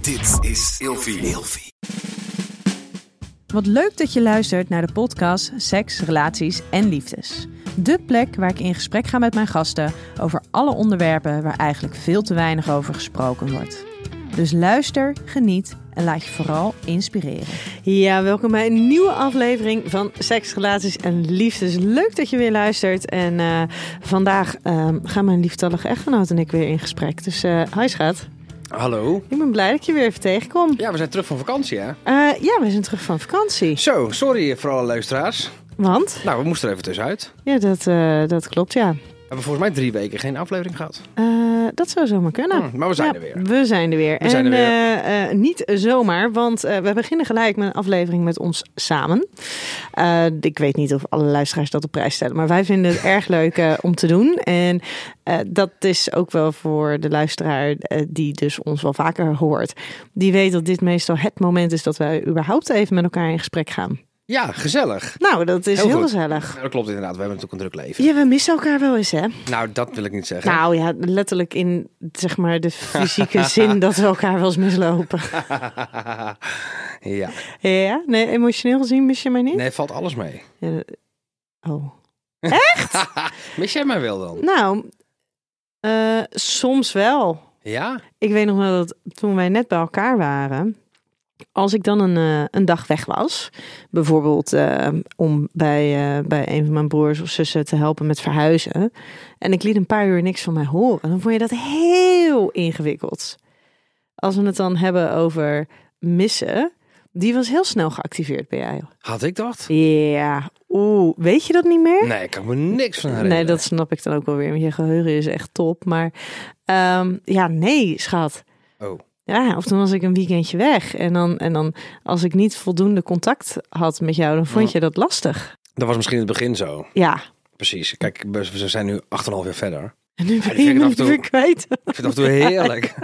Dit is Ilfie. Wat leuk dat je luistert naar de podcast Seks, Relaties en Liefdes. De plek waar ik in gesprek ga met mijn gasten over alle onderwerpen waar eigenlijk veel te weinig over gesproken wordt. Dus luister, geniet en laat je vooral inspireren. Ja, welkom bij een nieuwe aflevering van Seks, Relaties en Liefdes. Leuk dat je weer luistert. En eh, vandaag eh, gaan mijn lieftallige echtgenoot en ik weer in gesprek. Dus eh hi schat, Hallo. ik ben blij dat ik je weer even tegenkom. Ja, we zijn terug van vakantie, hè? Eh, ja, we zijn terug van vakantie. Zo, sorry voor alle luisteraars. Want, Nou, we moesten er even tussenuit. ja, dat, eh, dat klopt, ja. We hebben volgens mij drie weken geen aflevering gehad. Eh, dat zou zomaar kunnen. Hm, maar we zijn Ja, er weer. We zijn er weer. We zijn er en weer. eh, eh, niet zomaar, want eh, we beginnen gelijk met een aflevering met ons samen. Eh, ik weet niet of alle luisteraars dat op prijs stellen, maar wij vinden het erg leuk eh, om te doen. En eh, dat is ook wel voor de luisteraar eh, die dus ons wel vaker hoort. Die weet dat dit meestal het moment is dat wij überhaupt even met elkaar in gesprek gaan. Ja, gezellig. Nou, dat is heel, Heel goed. gezellig. Nou, dat klopt inderdaad. We hebben natuurlijk een druk leven. Ja, we missen elkaar wel eens, hè? Nou, dat wil ik niet zeggen. Nou ja, letterlijk in zeg maar de fysieke zin dat we elkaar wel eens mislopen. Nou. ja. Ja, nee, emotioneel gezien mis je mij niet? Nee, valt alles mee. Ja, oh. Mis jij mij wel dan? Nou, eh, soms wel. Ja? Ik weet nog wel dat toen wij net bij elkaar waren, als ik dan een, eh, een dag weg was, bijvoorbeeld eh, om bij, eh, bij een van mijn broers of zussen te helpen met verhuizen, en ik liet een paar uur niks van mij horen, dan vond je dat heel ingewikkeld. Als we het dan hebben over missen, die was heel snel geactiveerd bij jou. Had ik dat? Ja, oeh, weet je dat niet meer? Nee, ik kan me niks van herinneren. Nee, dat snap ik dan ook wel weer. Want je geheugen is echt top. Maar ehm, ja, nee, schat. Oh. Ja, of toen was ik een weekendje weg. En dan, en dan als ik niet voldoende contact had met jou, dan vond je dat lastig. Dat was misschien in het begin zo. Ja. Precies. Kijk, we we zijn nu 8,5 jaar verder. En nu vind ben je ik af me en toe- weer kwijt. Ik vind het af en toe heerlijk.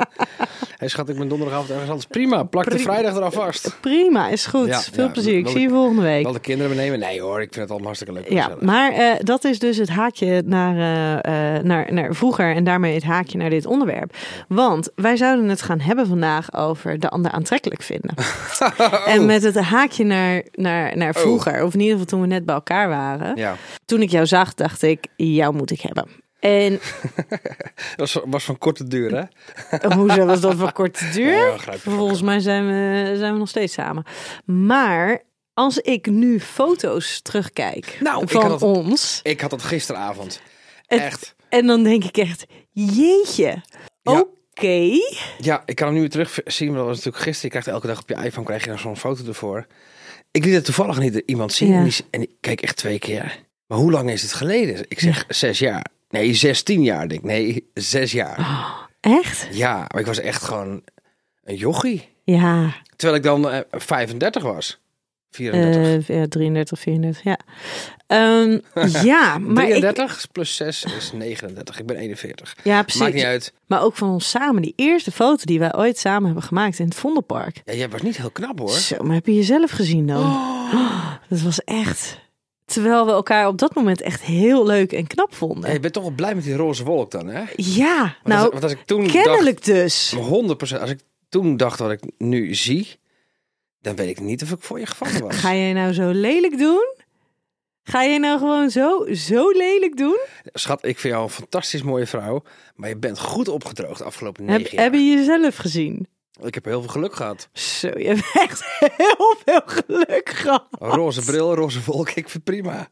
Hij schat, ik ben donderdagavond ergens anders. Prima, plak de vrijdag eraf vast. Prima, is goed. Ja, Veel ja, plezier. Ik wel- zie je volgende week. Wel de kinderen meenemen? Nee hoor, ik vind het allemaal hartstikke leuk. en Ja, gezellig. maar eh, dat is dus het haakje naar, eh, eh, naar, naar vroeger en daarmee het haakje naar dit onderwerp. Want wij zouden het gaan hebben vandaag over de ander aantrekkelijk vinden. Oh. En met het haakje naar, naar, naar vroeger, of in ieder geval toen we net bij elkaar waren. Ja, Toen ik jou zag, dacht ik, jou moet ik hebben. En dat was, was van korte duur hè? hoezo was dat van korte duur? Ja, begrijp ik. Volgens mij zijn we, zijn we nog steeds samen. Maar als ik nu foto's terugkijk Nou, ik van had dat- ons... Ik had dat gisteravond. Het- Echt. En dan denk ik echt, jeetje, Ja. oké. Ja, ik kan hem nu weer terugzien, maar dat was natuurlijk gisteren. Je krijgt elke dag op je iPhone krijg je dan zo'n foto ervoor. Ik liet het toevallig niet iemand zien. Ja. En, die- en ik keek echt twee keer. Maar hoe lang is het geleden? Ik zeg zes jaar. Nee, zestien jaar denk ik. Nee, zes jaar. Ah. Echt? Ja, maar ik was echt gewoon een jochie. Ja, Terwijl ik dan eh, 35 was. 34. eh, ja, 33, 34, ja. Ehm, ja, maar ik, 33 plus 6 is 39. Ik ben 41. ja, Maakt niet precies. uit. Maar ook van ons samen, die eerste foto die wij ooit samen hebben gemaakt in het Vondelpark. Ja, jij was niet heel knap hoor. Zo, maar heb je jezelf gezien dan? Oh, dat was echt... Terwijl we elkaar op dat moment echt heel leuk en knap vonden. Ja, je bent toch wel blij met die roze wolk dan, hè? Want ja, als, nou, want als ik toen kennelijk dus. dacht, 100%, als ik toen dacht wat ik nu zie, dan weet ik niet of ik voor je gevangen was. Ga jij nou zo lelijk doen? Ga jij nou gewoon zo, zo lelijk doen? Schat, ik vind jou een fantastisch mooie vrouw, maar je bent goed opgedroogd de afgelopen Heb, negen jaar. heb je jezelf gezien? Ik heb heel veel geluk gehad. Zo, je hebt echt heel veel geluk gehad. Roze bril, roze wolk, ik vind het prima.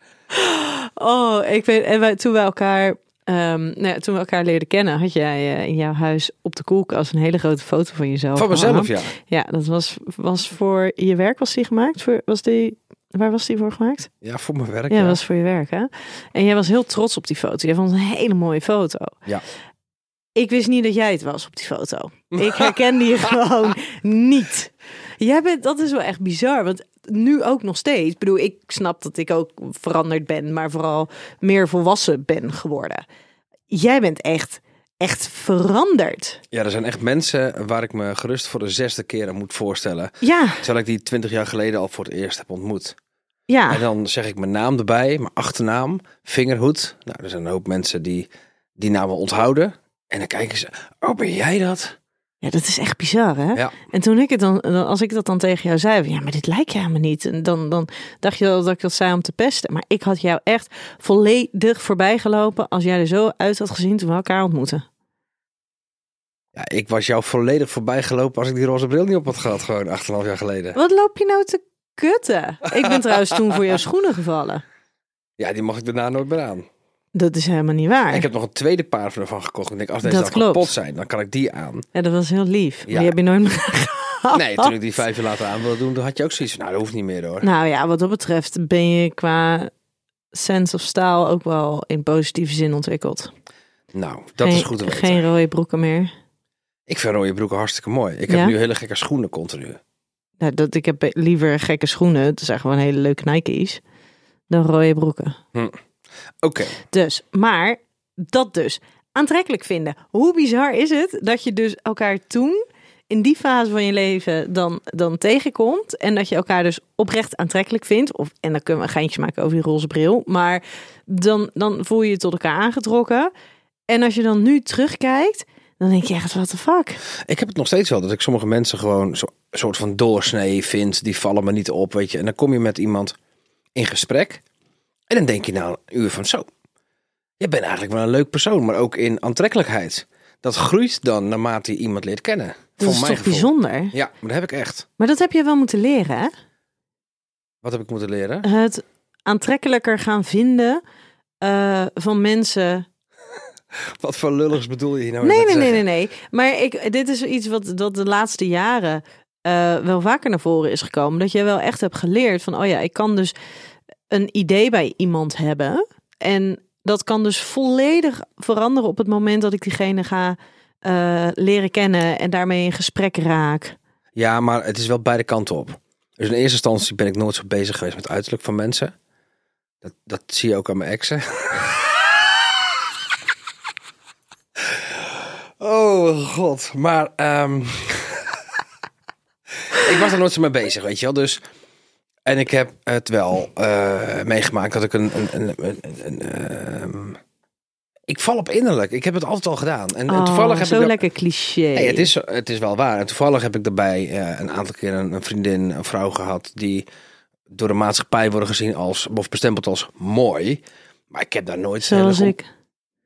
Oh, ik weet, en wij, toen we elkaar, ehm, nou ja, toen we elkaar leerden kennen, had jij eh, in jouw huis op de koelkast een hele grote foto van jezelf. Van mezelf, gehangen. ja. Ja, dat was, was voor je werk was die gemaakt? Voor, was die, waar was die voor gemaakt? Ja, voor mijn werk, Ja, ja. dat was voor je werk, hè? En jij was heel trots op die foto. Jij vond het een hele mooie foto. Ja. Ik wist niet dat jij het was op die foto. Ik herkende je gewoon niet. Jij bent, dat is wel echt bizar, want nu ook nog steeds. Ik bedoel, ik snap dat ik ook veranderd ben, maar vooral meer volwassen ben geworden. Jij bent echt, echt veranderd. ja, er zijn echt mensen waar ik me gerust voor de zesde keer aan moet voorstellen. Ja, Terwijl ik die twintig jaar geleden al voor het eerst heb ontmoet. ja. En dan zeg ik mijn naam erbij, mijn achternaam, vingerhoed. Nou, er zijn een hoop mensen die die namen onthouden. En dan kijken ze, oh ben jij dat? Ja, dat is echt bizar, hè? Ja. En toen ik het dan, dan- als ik dat dan tegen jou zei, van, ja, maar dit lijkt je helemaal niet. En dan, dan dacht je wel dat ik dat zei om te pesten. Maar ik had jou echt volledig voorbij gelopen als jij er zo uit had gezien toen we elkaar ontmoeten. Ja, ik was jou volledig voorbij gelopen als ik die roze bril niet op had gehad, gewoon 8,5 jaar geleden. Wat loop je nou te kutten? Ik ben trouwens toen voor jouw schoenen gevallen. Ja, die mag ik daarna nooit meer aan. Dat is helemaal niet waar. En ik heb nog een tweede paar ervan gekocht. Ik denk, als deze Dat dan klopt. kapot zijn, dan kan ik die aan. Ja, dat was heel lief. Maar Ja. die heb je nooit meer gehad. Nee, toen ik die vijf jaar later aan wilde doen, toen had je ook zoiets van, nou, dat hoeft niet meer hoor. Nou ja, wat dat betreft ben je qua sense of style ook wel in positieve zin ontwikkeld. Nou, dat Geen- is goed te weten. Geen rode broeken meer. Ik vind rode broeken hartstikke mooi. Ik heb Ja? nu hele gekke schoenen continu. Nou, dat, ik heb be- liever gekke schoenen. Het zijn gewoon hele leuke Nike's. Dan rode broeken. Oké, Dus, maar dat dus. Aantrekkelijk vinden. Hoe bizar is het dat je dus elkaar toen in die fase van je leven dan, dan tegenkomt. En dat je elkaar dus oprecht aantrekkelijk vindt. Of, en dan kunnen we een geintje maken over die roze bril. Maar dan, dan voel je je tot elkaar aangetrokken. En als je dan nu terugkijkt, dan denk je echt, what the fuck? ik heb het nog steeds wel dat ik sommige mensen gewoon zo, soort van doorsnee vind. Die vallen me niet op, weet je. En dan kom je met iemand in gesprek. En dan denk je na een uur van zo. Je bent eigenlijk wel een leuk persoon, maar ook in aantrekkelijkheid. Dat groeit dan naarmate je iemand leert kennen. Dat voor is toch mijn gevoel. bijzonder? Ja, maar dat heb ik echt. Maar dat heb je wel moeten leren, hè? Wat heb ik moeten leren? Het aantrekkelijker gaan vinden eh, van Oh, mensen Wat voor lulligs bedoel je hier nou? Nee, mee te nee, nee, nee, zeggen? nee. Maar ik, dit is iets wat dat de laatste jaren eh, wel vaker naar voren is gekomen. Dat je wel echt hebt geleerd van, oh ja, ik kan dus een idee bij iemand hebben. En dat kan dus volledig veranderen op het moment dat ik diegene ga eh, leren kennen en daarmee in gesprek raak. Ja, maar het is wel beide kanten op. Dus in eerste instantie ben ik nooit zo bezig geweest met uiterlijk van mensen. Dat, dat zie je ook aan mijn exen. oh god, maar ehm, ik was er nooit zo mee bezig, weet je wel. Dus, en ik heb het wel eh, meegemaakt dat ik een... een, een, een, een, ehm, ik val op innerlijk. Ik heb het altijd al gedaan. En, en Oh, Nou, toevallig heb zo ik dat- lekker cliché. Nee, het, is, het is wel waar. En toevallig heb ik daarbij eh, een aantal keer een, een vriendin, een vrouw gehad die door de maatschappij worden gezien als, of bestempeld als mooi. Maar ik heb daar nooit Zoals heel erg ik. om-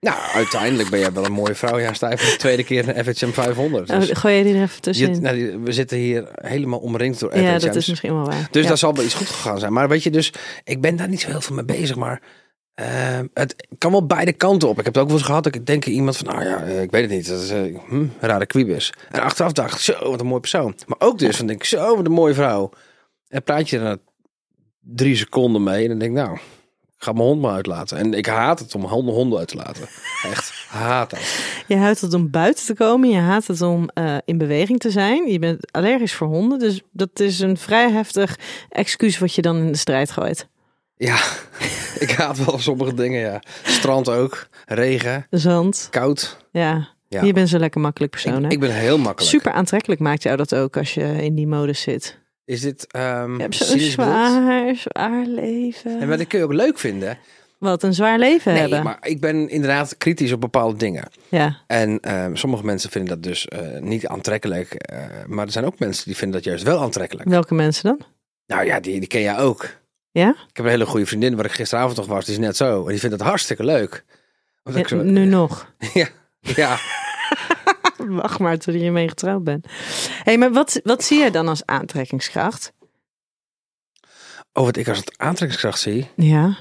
Nou, uiteindelijk ben jij wel een mooie vrouw. Ja, sta je voor de tweede keer in de FHM 500. Oh, Dus gooi je die er even je- tussenin? nou, die- we zitten hier helemaal omringd door ja, FHM's. dat is misschien wel waar. Dus ja. daar zal wel iets goed gegaan zijn. Maar weet je, dus ik ben daar niet zo heel veel mee bezig. Maar eh, het kan wel beide kanten op. Ik heb het ook wel eens gehad. dat Ik denk aan iemand van, nou ja, eh, ik weet het niet. Dat is eh, hm, een rare kwiebus. En achteraf dacht ik, zo, wat een mooie persoon. Maar ook dus van, denk ik, zo, wat een mooie vrouw. En praat je er na drie seconden mee. En dan denk ik, nou, ik ga mijn hond maar uitlaten. En ik haat het om honden, honden uit te laten. Echt, haat dat. Je haat het om buiten te komen, je haat het om eh, in beweging te zijn. Je bent allergisch voor honden, dus dat is een vrij heftig excuus wat je dan in de strijd gooit. Ja, ik haat wel sommige dingen, ja. Strand ook, regen, Zand, koud. ja. Ja. Je bent zo'n lekker makkelijk persoon, Ik, hè? ik ben heel makkelijk. Super aantrekkelijk maakt jou dat ook als je in die modus zit. Is dit ehm Je hebt zo'n cynisch bedoeld? zwaar, zwaar leven. En maar dat kun je ook leuk vinden. Wat een zwaar leven Nee, hebben. maar ik ben inderdaad kritisch op bepaalde dingen. Ja, En ehm, sommige mensen vinden dat dus eh, niet aantrekkelijk. eh, maar er zijn ook mensen die vinden dat juist wel aantrekkelijk. welke mensen dan? Nou ja, die, die ken jij ook. Ja? Ik heb een hele goede vriendin waar ik gisteravond nog was. Die is net zo. En die vindt dat hartstikke leuk. Omdat ik Ja, zo- nu nog. ja. Wacht maar tot je ermee getrouwd bent. hey, maar wat, wat zie jij dan als aantrekkingskracht? Oh, wat ik als het aantrekkingskracht zie. Oh, Ja,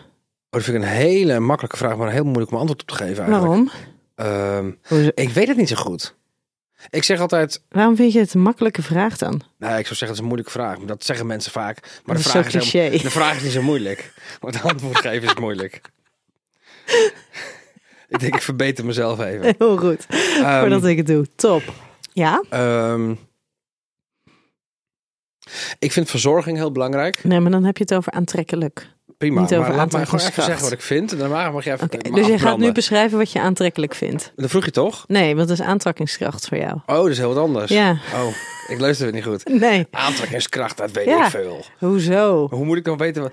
dat vind ik een hele makkelijke vraag, maar een heel moeilijk om antwoord op te geven eigenlijk. waarom? Ehm, Hoezo- ik weet het niet zo goed. Ik zeg altijd, Waarom vind je het een makkelijke vraag dan? Nou, ik zou zeggen, het is een moeilijke vraag. Maar dat zeggen mensen vaak. Dat Maar de is vraag, zo is helemaal- cliché. de vraag is niet zo moeilijk. Want het antwoord geven is moeilijk. ik denk, ik verbeter mezelf even. Heel goed. Ehm, Voordat ik het doe. Top. Ja? ehm, ik vind verzorging heel belangrijk. Nee, maar dan heb je het over aantrekkelijk. Prima. Niet over maar laat mij gewoon even aantrekkingskracht. zeggen wat ik vind. En daarna mag je even Oké, eh, me dus je gaat afbranden. nu beschrijven wat je aantrekkelijk vindt. Dat vroeg je toch? Nee, want dat is aantrekkingskracht voor jou. Oh, dat is heel wat anders. Ja. Oh, ik luister het niet goed. Nee. Aantrekkingskracht, dat weet Ja. ik veel. Hoezo? Hoe moet ik dan weten? wat-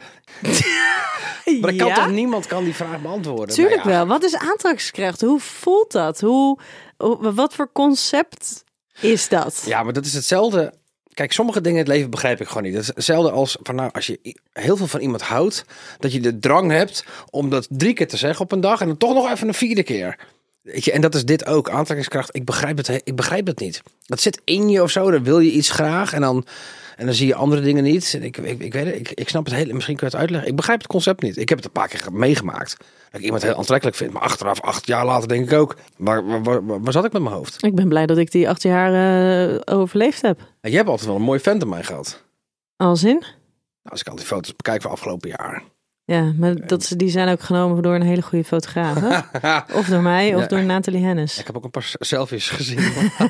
Maar ik kan ja? toch niemand kan die vraag beantwoorden? Tuurlijk Nou ja. wel. Wat is aantrekkingskracht? Hoe voelt dat? Hoe, hoe- wat voor concept is dat. Ja, maar dat is hetzelfde. Kijk, sommige dingen in het leven begrijp ik gewoon niet. Dat is hetzelfde als van nou, als je i- heel veel van iemand houdt, dat je de drang hebt om dat drie keer te zeggen op een dag en dan toch nog even een vierde keer. Weet je, en dat is dit ook, aantrekkingskracht. Ik begrijp het, he- ik begrijp het niet. Dat zit in je of zo, dan wil je iets graag en dan, en dan zie je andere dingen niet. En ik, ik, ik weet het, ik, ik snap het heel, misschien kun je het uitleggen. Ik begrijp het concept niet. Ik heb het een paar keer ge- meegemaakt. Dat ik iemand heel aantrekkelijk vind, maar achteraf, acht jaar later denk ik ook, waar, waar, waar, waar zat ik met mijn hoofd? Ik ben blij dat ik die acht jaar eh, overleefd heb. En jij hebt altijd wel een mooie vent aan mij gehad. Als in? Nou, als ik al die foto's bekijk van afgelopen jaar. Ja, maar dat, ze- die zijn ook genomen door een hele goede fotograaf. hè? Of door mij, of Ja. door Nathalie Hennis. ik heb ook een paar s- selfies gezien.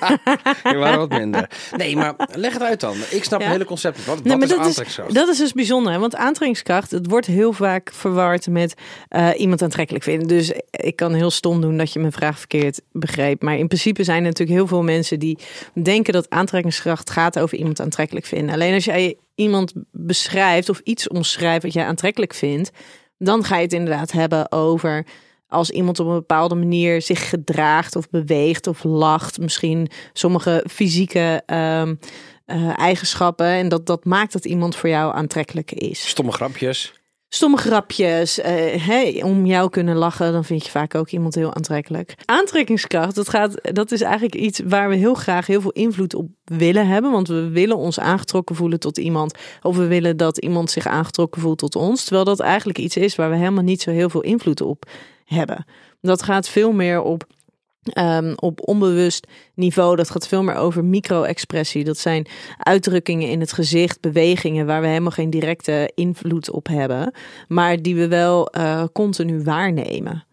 Die waren wat minder. Nee, maar leg het uit dan. Ik snap Ja. het hele concept niet. Wat, wat Nee, maar is dat is, aantrekkingskracht? dat is dus bijzonder. hè, Want aantrekkingskracht, het wordt heel vaak verward met eh, iemand aantrekkelijk vinden. Dus ik kan heel stom doen dat je mijn vraag verkeerd begreep. Maar in principe zijn er natuurlijk heel veel mensen die denken dat aantrekkingskracht gaat over iemand aantrekkelijk vinden. Alleen als jij iemand beschrijft of iets omschrijft wat jij aantrekkelijk vindt, dan ga je het inderdaad hebben over als iemand op een bepaalde manier zich gedraagt of beweegt of lacht. Misschien sommige fysieke ehm, eh, eigenschappen. En dat, dat maakt dat iemand voor jou aantrekkelijk is. Stomme grapjes. Stomme grapjes. eh, hey, om jou kunnen lachen, dan vind je vaak ook iemand heel aantrekkelijk. Aantrekkingskracht, dat, gaat, dat is eigenlijk iets waar we heel graag heel veel invloed op willen hebben. Want we willen ons aangetrokken voelen tot iemand. Of we willen dat iemand zich aangetrokken voelt tot ons. Terwijl dat eigenlijk iets is waar we helemaal niet zo heel veel invloed op hebben. Dat gaat veel meer op Ehm, op onbewust niveau. Dat gaat veel meer over micro-expressie. Dat zijn uitdrukkingen in het gezicht, bewegingen waar we helemaal geen directe invloed op hebben, maar die we wel eh, continu waarnemen.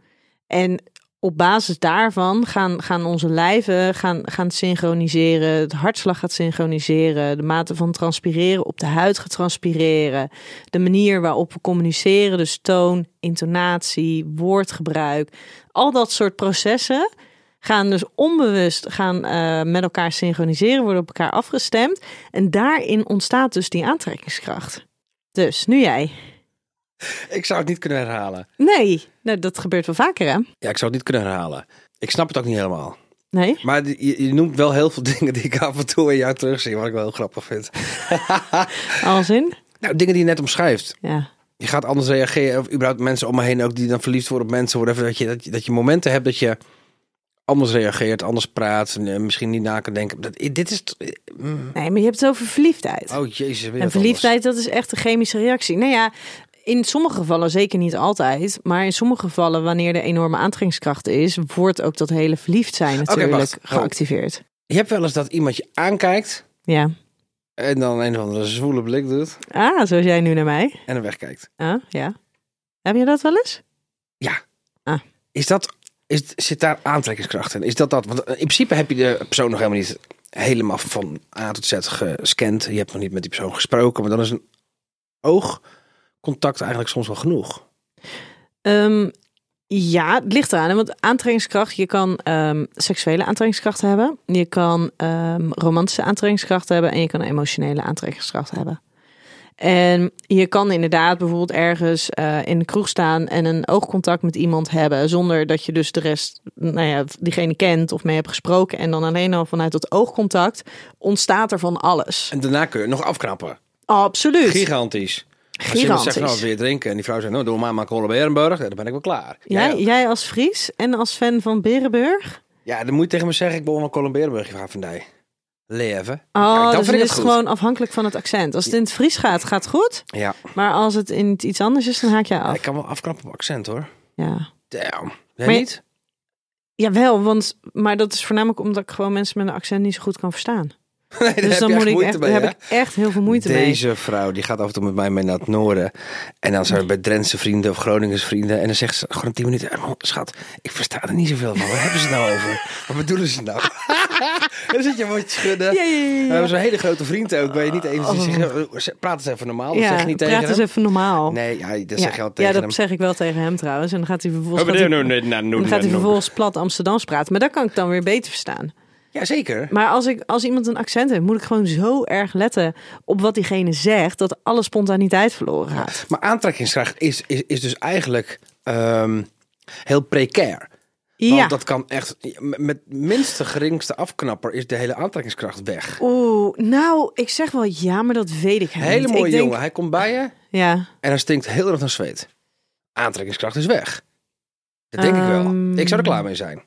En op basis daarvan gaan, gaan onze lijven gaan, gaan synchroniseren. Het hartslag gaat synchroniseren. De mate van transpireren op de huid gaat transpireren. De manier waarop we communiceren, dus toon, intonatie, woordgebruik. Al dat soort processen gaan dus onbewust gaan, eh, met elkaar synchroniseren, worden op elkaar afgestemd. En daarin ontstaat dus die aantrekkingskracht. Dus, nu jij. Ik zou het niet kunnen herhalen. Nee, nou, dat gebeurt wel vaker hè? Ja, ik zou het niet kunnen herhalen. Ik snap het ook niet helemaal. Nee? Maar die- je, je noemt wel heel veel dingen die ik af en toe in jou terugzie, wat ik wel heel grappig vind. Als in? Nou, dingen die je net omschrijft. Ja. je gaat anders reageren. Of überhaupt mensen om me heen ook die dan verliefd worden op mensen. Whatever, dat, je, dat, je, dat je momenten hebt dat je anders reageert, anders praat. En, eh, misschien niet na kan denken. Dat, dit is... t- mm. Nee, maar je hebt het over verliefdheid. Oh jezus, weer en wat verliefdheid, dat is echt een chemische reactie. Nou ja, in sommige gevallen, zeker niet altijd, maar in sommige gevallen, wanneer er enorme aantrekkingskracht is, wordt ook dat hele verliefd zijn natuurlijk wacht. Oh. geactiveerd. Je hebt wel eens dat iemand je aankijkt. Ja. En dan een of andere zwoele blik doet. Ah, zoals jij nu naar mij. En dan wegkijkt. Ah, ja. Heb je dat wel eens? Is dat... Is, zit daar aantrekkingskracht in? Is dat dat? Want eh, in principe heb je de persoon nog helemaal niet helemaal van A tot Z gescand. Je hebt nog niet met die persoon gesproken. Maar dan is een oogcontact eigenlijk soms wel genoeg. Ehm, ja, het ligt eraan. hè, Want aantrekkingskracht, je kan ehm, seksuele aantrekkingskracht hebben. Je kan ehm, romantische aantrekkingskracht hebben. En je kan emotionele aantrekkingskracht hebben. En je kan inderdaad bijvoorbeeld ergens eh, in de kroeg staan en een oogcontact met iemand hebben. Zonder dat je dus de rest, nou ja, diegene kent of mee hebt gesproken. En dan alleen al vanuit dat oogcontact ontstaat er van alles. En daarna kun je nog afknappen. Absoluut. Gigantisch. Als iemand Gigantisch. zegt, nou, weer drinken? En die vrouw zegt, nou, doe maar maar Cola Berenburg. Ja, dan ben ik wel klaar. Jij, ja, jij als Fries en als fan van Berenburg? ja, dan moet je tegen me zeggen, ik ben wel een Cola Berenburg van Vandij. Leven. Oh, Kijk, dan dus vind ik het het is goed. gewoon afhankelijk van het accent. Als het in het Fries gaat, gaat het goed. Ja. Maar als het in het iets anders is, dan haak je af. Ik kan wel afknappen op accent, hoor. Ja. Damn. Jij Maar- niet? Jawel, want, maar dat is voornamelijk omdat ik gewoon mensen met een accent niet zo goed kan verstaan. Nee, daar Dus heb dan je moet echt ik moeite echt, mee, daar hè? heb ik echt heel veel moeite mee. Deze vrouw, die gaat af en toe met mij mee naar het noorden. En dan zijn we bij Drentse vrienden of Groningense vrienden. En dan zegt ze gewoon tien minuten. "Eh, man, Schat, ik versta er niet zoveel van. Waar hebben ze het nou over? Wat bedoelen ze nou? dan zit je een woordje te schudden. Ja, ja, ja, ja. We hebben zo'n hele grote vriend ook. Waar je niet even die zegt, "Eh, praat eens even normaal. Dat zeg je niet Oh. praat tegen eens hem. even normaal. Nee, ja, dat ja. zeg je al tegen ja, dat hem. zeg ik wel tegen hem trouwens. En dan gaat hij vervolgens, Oh, gaat nee, hij- nee, nee, nee, nee, dan gaat hij nee. vervolgens plat Amsterdams praten. Maar dat kan ik dan weer beter verstaan. Ja, zeker. Maar als, ik, als iemand een accent heeft, moet ik gewoon zo erg letten op wat diegene zegt... dat alle spontaniteit verloren gaat. Maar aantrekkingskracht is, is, is dus eigenlijk ehm, heel precair. Want Ja. dat kan echt... Met minste geringste afknapper is de hele aantrekkingskracht weg. Oeh, nou, ik zeg wel ja, maar dat weet ik helemaal Hele niet. mooie ik denk, jongen. Hij komt bij je Ja. en hij stinkt heel erg naar zweet. Aantrekkingskracht is weg. Dat denk ik wel. Ehm. Ik zou er klaar mee zijn.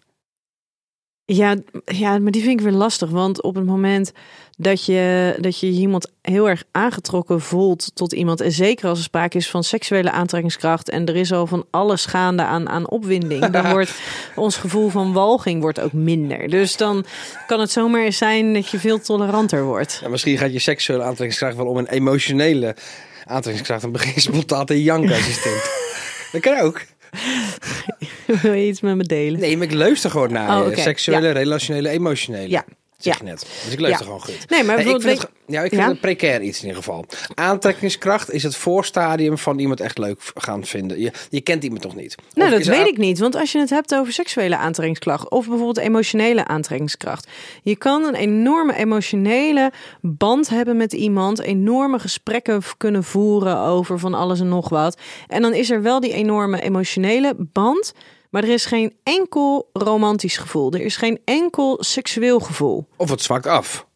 Ja, ja, maar die vind ik weer lastig. Want op het moment dat je, dat je iemand heel erg aangetrokken voelt tot iemand. En zeker als er sprake is van seksuele aantrekkingskracht. En er is al van alles gaande aan, aan opwinding. Dan wordt ons gevoel van walging wordt ook minder. Dus dan kan het zomaar eens zijn dat je veel toleranter wordt. Ja, misschien gaat je seksuele aantrekkingskracht wel om een emotionele aantrekkingskracht. Dan begin je spontaan te janken als je stinkt. Dat kan ook. Wil je iets met me delen? Nee, maar ik luister gewoon naar Oh, je. oké. Seksuele, relationele, emotionele. Ja. Zeg Ja. je net. Dus ik luister Ja. gewoon goed. Nee, maar Nee, ik bijvoorbeeld vind het, weet- ge- ja, ik vind Ja? het precair iets in ieder geval. Aantrekkingskracht is het voorstadium van iemand echt leuk v- gaan vinden. Je, je kent iemand toch niet? Nou, Of dat is er weet aan- ik niet. Want als je het hebt over seksuele aantrekkingskracht of bijvoorbeeld emotionele aantrekkingskracht. Je kan een enorme emotionele band hebben met iemand. Enorme gesprekken v- kunnen voeren over van alles en nog wat. En dan is er wel die enorme emotionele band. Maar er is geen enkel romantisch gevoel. Er is geen enkel seksueel gevoel. Of het zwakt af.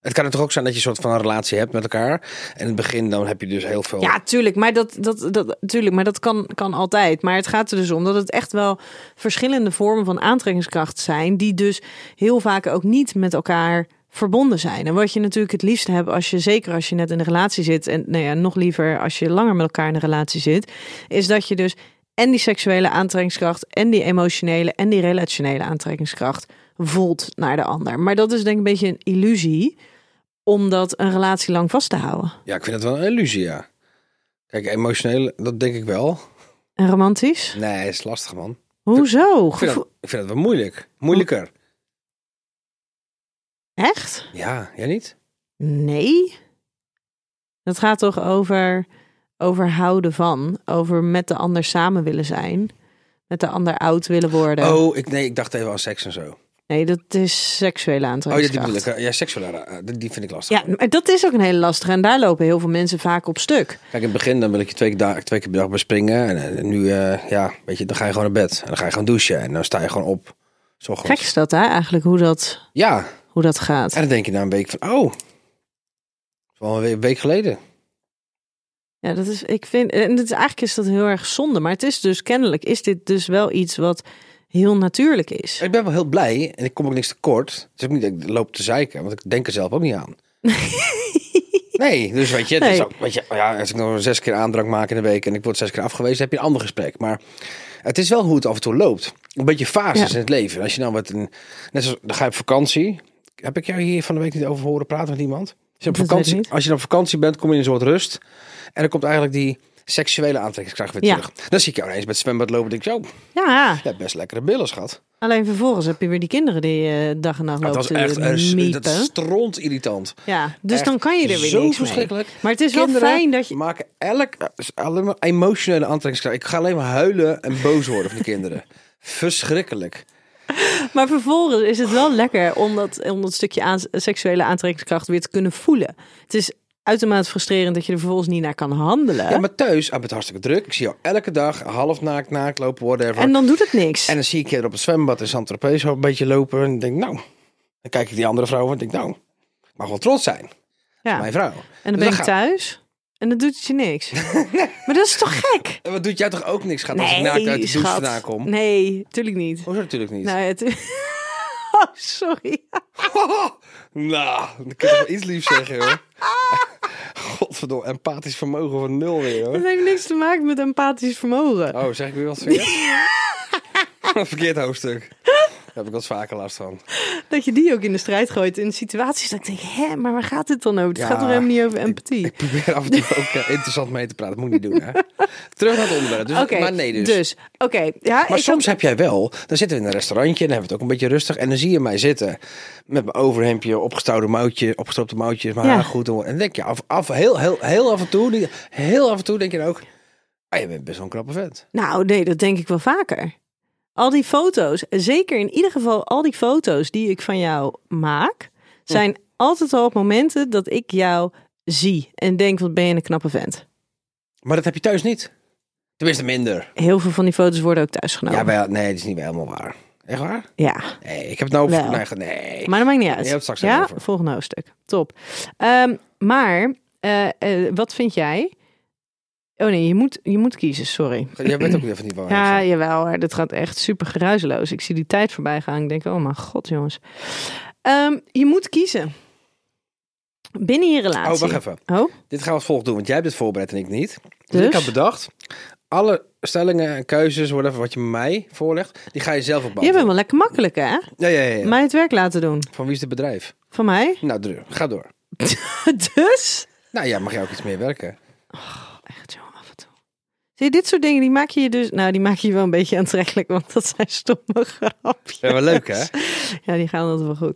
Het kan er toch ook zijn dat je een soort van een relatie hebt met elkaar. En in het begin dan heb je dus heel veel... Ja, tuurlijk. Maar dat, dat, dat, tuurlijk, maar dat kan, kan altijd. Maar het gaat er dus om dat het echt wel verschillende vormen van aantrekkingskracht zijn. Die dus heel vaak ook niet met elkaar verbonden zijn. En wat je natuurlijk het liefst hebt als je, zeker als je net in een relatie zit. En nou ja, nog liever als je langer met elkaar in een relatie zit. Is dat je dus en die seksuele aantrekkingskracht. En die emotionele en die relationele aantrekkingskracht voelt naar de ander. Maar dat is denk ik een beetje een illusie. Om dat een relatie lang vast te houden. Ja, ik vind het wel een illusie, ja. Kijk, emotioneel, dat denk ik wel. En romantisch? Nee, is lastig, man. Hoezo? Ik vind Gevo- dat, ik vind dat wel moeilijk. Moeilijker. Echt? Ja, jij niet? Nee. Dat gaat toch over, over houden van. Over met de ander samen willen zijn. Met de ander oud willen worden. Oh, ik, nee, ik dacht even aan seks en zo. Nee, dat is seksuele Oh, ja, die aantrekkingskracht. bedoel ik. Ja, seksuele, eh, die die vind ik lastig. ja, maar dat is ook een hele lastige. En daar lopen heel veel mensen vaak op stuk. Kijk, in het begin dan wil ik je twee keer, da- twee keer per dag bespringen. En, eh, nu, eh, ja, weet je, dan ga je gewoon naar bed. En dan ga je gewoon douchen. En dan sta je gewoon op. Zo Gek is dat hè, eigenlijk, hoe dat, Ja, hoe dat gaat. en dan denk je na een week van, oh, dat is wel een we- week geleden. Ja, dat is, ik vind, en het is, eigenlijk is dat heel erg zonde. Maar het is dus kennelijk, is dit dus wel iets wat heel natuurlijk is. Ik ben wel heel blij en ik kom ook niks tekort. Het is ook niet dat ik loop te zeiken, want ik denk er zelf ook niet aan. Nee, dus weet je, het is Nee. ook, weet je ja, als ik nog zes keer aandrank maak in de week en ik word zes keer afgewezen, heb je een ander gesprek. Maar het is wel hoe het af en toe loopt. Een beetje fases Ja. in het leven. Als je nou wat een, net zoals, dan ga je op vakantie. Heb ik jou hier van de week niet over horen praten met iemand? Als je, Dat op weet ik vakantie, niet. als je dan op vakantie bent, kom je in een soort rust. En dan komt eigenlijk die seksuele aantrekkingskracht weer Ja. terug. Dan zie ik jou ineens met het zwembad lopen en denk ik, zo, Ja. je hebt best lekkere billen, schat. Alleen vervolgens heb je weer die kinderen die eh, dag en nacht lopen Dat was te echt een, miepen. dat stront irritant. ja, dus echt dan kan je er weer Zo niks verschrikkelijk. mee. Maar het is wel Kinderen fijn dat je... maken elk eh, is alleen maar emotionele aantrekkingskracht. Ik ga alleen maar huilen en boos worden van de kinderen. Verschrikkelijk. Maar vervolgens is het wel lekker om dat, om dat stukje aan, seksuele aantrekkingskracht weer te kunnen voelen. Het is uitermate frustrerend dat je er vervolgens niet naar kan handelen. Ja, maar thuis, ah, het hartstikke druk. Ik zie jou elke dag half naakt, naakt lopen, whatever. En dan doet het niks. En dan zie ik je er op het zwembad in Saint-Tropez zo een beetje lopen. En denk nou, dan kijk ik die andere vrouw en denk nou, ik mag wel trots zijn. ja. Mijn en vrouw. dan Dus ben je gaat- thuis en dan doet het je niks. Maar dat is toch gek? En Eh, Wat doet jij toch ook niks, gaat als ik naakt uit de douche schat. vandaan kom? Oh, Nee, tuurlijk niet. Hoezo natuurlijk niet? Nou, het... Oh, sorry. nou, dan kun je toch wel iets lief zeggen, hoor. Godverdomme, empathisch vermogen van nul weer, Dat hoor. heeft niks te maken met empathisch vermogen. Oh, zeg ik weer wat verkeerd? verkeerd hoofdstuk. Daar heb ik wat vaker last van. Dat je die ook in de strijd gooit in situaties dat ik denk, hè, maar waar gaat dit dan over? Het Ja, gaat toch helemaal niet over empathie? Ik probeer af en toe ook eh, interessant mee te praten. Dat moet ik niet doen, hè. Terug naar het onderwerp. Dus, Oké, maar nee dus. oké. ja, Maar ik had- soms heb jij wel, dan zitten we in een restaurantje en dan hebben we het ook een beetje rustig. En dan zie je mij zitten met mijn overhemdje, opgestouwde mouwtje, opgestoopte mouwtjes, mijn Ja. haar goed. En dan denk je, af, af, heel, heel, heel af en toe, die- heel af en toe denk je dan ook, ah, je bent best wel een knappe vent. Nou, nee, dat denk ik wel vaker. Al die foto's, zeker in ieder geval al die foto's die ik van jou maak, Hm. zijn altijd al op momenten dat ik jou zie en denk, wat ben je een knappe vent. Maar dat heb je thuis niet. Tenminste minder. Heel veel van die foto's worden ook thuis genomen. Ja, wel, nee, dat is niet wel helemaal waar. Echt waar? Ja. Nee, ik heb het nou over... Wel. Nee, ge- nee. Maar dat maakt niet uit. Je hebt het straks ja, erover. volgende hoofdstuk. Top. Ehm, maar, eh, eh, wat vind jij? Oh nee, je moet, je moet kiezen, sorry. Jij bent ook weer van die waar. Ja, jawel, maar dit gaat echt super geruisloos. Ik zie die tijd voorbij gaan. Ik denk, oh mijn god, jongens. Ehm, je moet kiezen. Binnen je relatie. Oh, wacht even. Oh, Dit gaan we als volgt doen, want jij hebt dit voorbereid en ik niet. Dus, Dus? ik had bedacht, alle stellingen en keuzes, whatever, wat je mij voorlegt, die ga je zelf opbouwen. je bent wel lekker makkelijk, hè? Ja, ja, ja. ja. Mij het werk laten doen. Van wie is het bedrijf? Van mij. Nou, dru- ga door. dus? Nou ja, mag jij ook iets meer werken? Echt, jongen, af en toe. Zie je, dit soort dingen, die maak je je dus... Nou, die maak je je wel een beetje aantrekkelijk, want dat zijn stomme grapjes. Ja, wel leuk, hè? Ja, die gaan altijd wel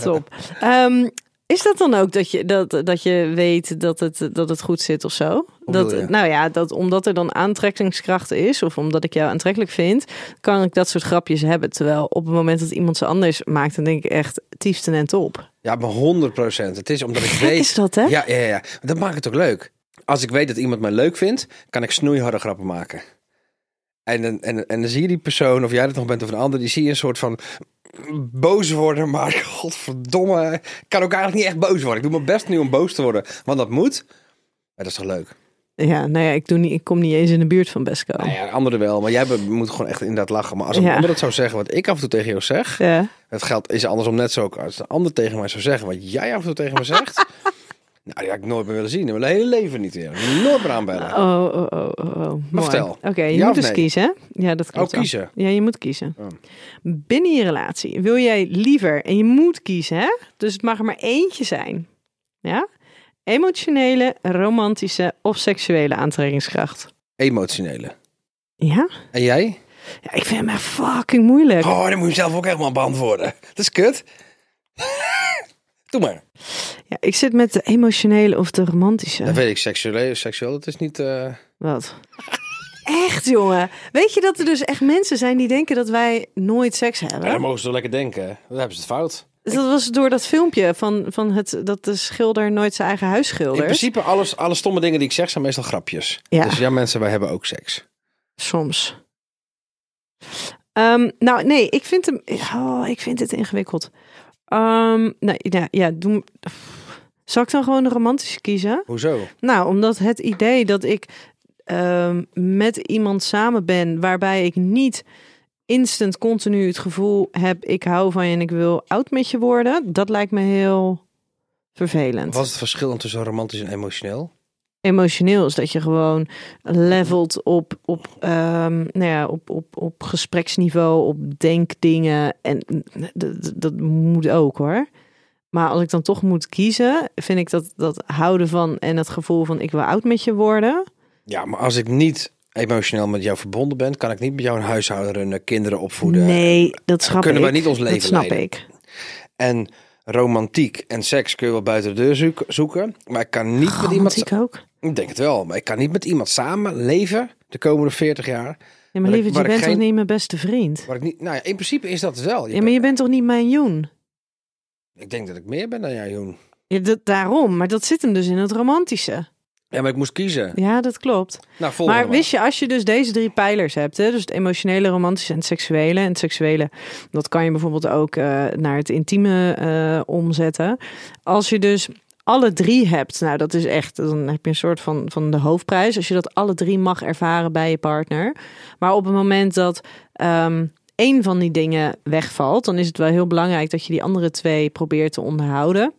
goed. Top. Ehm, is dat dan ook dat je, dat, dat je weet dat het, dat het goed zit of zo? bedoel je? Dat, nou ja, dat omdat er dan aantrekkingskracht is, of omdat ik jou aantrekkelijk vind, kan ik dat soort grapjes hebben. Terwijl op het moment dat iemand ze anders maakt, dan denk ik echt tiefste en top. Ja, maar 100 procent. Het is omdat ik Gek weet... is dat, hè? Ja, ja, ja. Dat maakt het ook leuk. Als ik weet dat iemand mij leuk vindt, kan ik snoeiharde grappen maken. En, dan- en, en dan zie je die persoon, of jij dat nog bent of een ander, die zie je een soort van boos worden. Maar godverdomme, ik kan ook eigenlijk niet echt boos worden. Ik doe mijn best niet om boos te worden, want dat moet. Maar dat is toch leuk? Ja, nou ja, ik, doe niet, ik kom niet eens in de buurt van Besco. Nou ja, anderen wel, maar jij be- moet gewoon echt inderdaad lachen. Maar als een Oh. Ja. ander dat zou zeggen, wat ik af en toe tegen jou zeg, Ja. het geldt is andersom net zo ook. Als een ander tegen mij zou zeggen wat jij af en toe tegen me zegt. nou, die had ik nooit meer willen zien. In mijn hele leven niet weer. Nooit meer aanbellen. Oh, oh, oh, oh, oh. Mooi. vertel. Oké, je Ja moet of dus nee? kiezen, hè? Ja, dat klopt Oh, wel. kiezen? Ja, je moet kiezen. Oh. Binnen je relatie wil jij liever, en je moet kiezen, hè? Dus het mag er maar eentje zijn. Ja? Emotionele, romantische of seksuele aantrekkingskracht. Emotionele. Ja? En jij? ja ik vind hem echt fucking moeilijk. Oh, dan moet je zelf ook helemaal beantwoorden. Dat is kut. Doe maar. Ja, ik zit met de emotionele of de romantische. Dat weet ik, seksueel, seksueel dat is niet... eh, Wat? Echt, jongen. Weet je dat er dus echt mensen zijn die denken dat wij nooit seks hebben? dan mogen ze toch lekker denken. Dan hebben ze het fout. Dus dat was door dat filmpje van, van het, dat de schilder nooit zijn eigen huis In schildert. principe, alles, alle stomme dingen die ik zeg zijn meestal grapjes. Ja. Dus ja, mensen, wij hebben ook seks. Soms. Ehm, nou, nee, ik vind hem. Oh, ik vind het ingewikkeld. Ehm nou, ja, ja, doe. Zal ik dan gewoon de romantische kiezen? Hoezo? Nou, omdat het idee dat ik ehm, met iemand samen ben waarbij ik niet instant continu het gevoel heb: ik hou van je en ik wil oud met je worden, dat lijkt me heel vervelend. Wat is het verschil dan tussen romantisch en emotioneel? emotioneel is dat je gewoon levelt op, op, ehm, nou ja, op, op, op gespreksniveau, op denkdingen. En d- d- dat moet ook hoor. Maar als ik dan toch moet kiezen, vind ik dat, dat houden van en het gevoel van ik wil oud met je worden. Ja, maar als ik niet emotioneel met jou verbonden ben, kan ik niet met jou een huishouden runnen, kinderen opvoeden. nee, dat snap kunnen ik. wij niet ons leven dat snap leiden. ik. En romantiek en seks kun je wel buiten de deur zoek- zoeken. Maar ik kan niet met iemand. Romantiek ook. Ik denk het wel, maar ik kan niet met iemand samen leven de komende 40 jaar. Ja, maar Waar ik- lieverd, je waar ik bent geen- toch niet mijn beste vriend? Waar ik niet, nou ja, in principe is dat wel. Je Ja, maar je bent toch niet mijn Joen? bent- Ik denk dat ik meer ben dan jij, Joen. Ja, dat, daarom, maar dat zit hem dus in het romantische. Ja, maar ik moest kiezen. Ja, dat klopt. Nou, volgende Maar wist je, als je dus deze drie pijlers hebt, hè, dus het emotionele, romantische en het seksuele. En het seksuele, dat kan je bijvoorbeeld ook eh, naar het intieme eh, omzetten. Als je dus alle drie hebt, nou dat is echt, dan heb je een soort van, van de hoofdprijs. Als je dat alle drie mag ervaren bij je partner. Maar op het moment dat ehm één van die dingen wegvalt, dan is het wel heel belangrijk dat je die andere twee probeert te onderhouden.